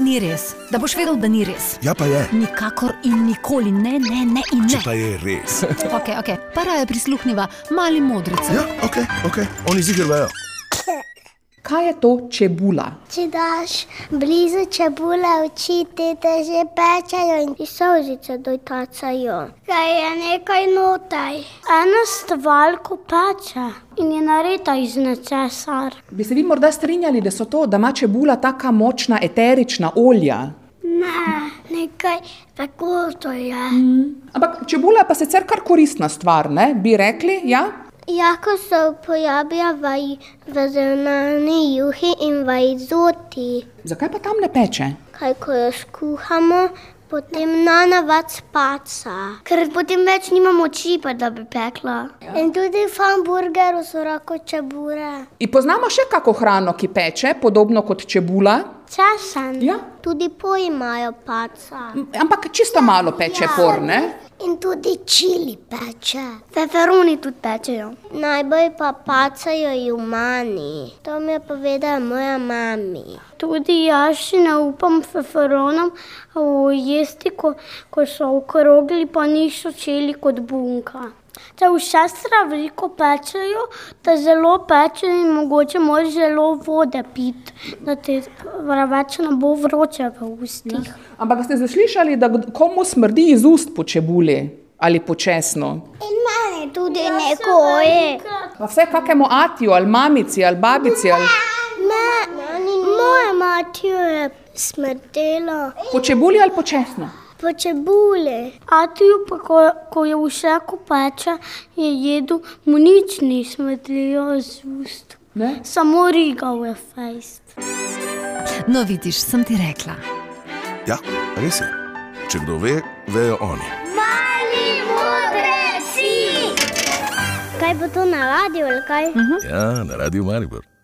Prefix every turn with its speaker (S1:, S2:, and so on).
S1: ni res, da boš vedel, da ni res.
S2: Ja, pa je.
S1: Nikakor in nikoli ne, ne, ne in
S2: Če
S1: ne.
S2: pa je res.
S1: Okay, okay. Para je prisluhnila mali modrici.
S2: Ja, ok, ok, oni zigrajo.
S3: Kaj je to čebula?
S4: Če daš blizu čebule, oči ti te že pečejo in ti solzice dotacajo. Kaj je nekaj notaj. Eno stvalko peče in je narejena iz nečesar.
S3: Bi se vi morda strinjali, da so to, da ima čebula taka močna eterična olja?
S4: Ne, nekaj tako to je.
S3: Ampak čebula je pa sicer kar koristna stvar, ne? bi rekli, ja?
S4: Jako se uporablja vaj- v zeleni juhi in vajzoti.
S3: Zakaj pa tam ne peče?
S4: Kaj ko jo skuhamo, potem na navad spaca, ker potem več nimamo čipa, da bi pekla. Ja. In tudi v hamburgerju so rako čebure.
S3: In poznamo še kako hrano, ki peče, podobno kot čebula,
S4: Česen.
S3: Ja.
S4: Tudi pojmajo paca.
S3: m, ampak čisto malo peče
S4: Ja.
S3: por, ne?
S4: In tudi čili peče. Peperoni tudi pečejo. Najbolj pa pacajo jumani. To mi je povedala moja mama. Tudi jaz še ne upam peperonom jesti, ko, ko so okrogli, pa niso čili kot bunka. Te v šestra veliko pečejo, te zelo pečejo in mogoče moraš zelo vode piti, da ti preveč ne bo vroče v ustih. Ja.
S3: Ampak ste zaslišali, da kd- komu smrdi iz ust po čebuli ali po česnu?
S4: In meni tudi ja nekoje.
S3: Pa vse kakemu atiju ali mamici ali babici ali
S4: Moja mati jo je smrdela
S3: po čebuli ali po česnu?
S4: po čebuli. A ti jo pa, ko, ko je vse kopača, je jedel, mu nič ni smrdelo z ust.
S3: Ne?
S4: Samo rigal je fejst.
S1: No, vidiš, sem ti rekla.
S2: Ja, res je. Če kdo ve, vejo oni.
S4: Mali modri si! Kaj bo to na radiju ali kaj?
S2: Ja, na radiju Maribor.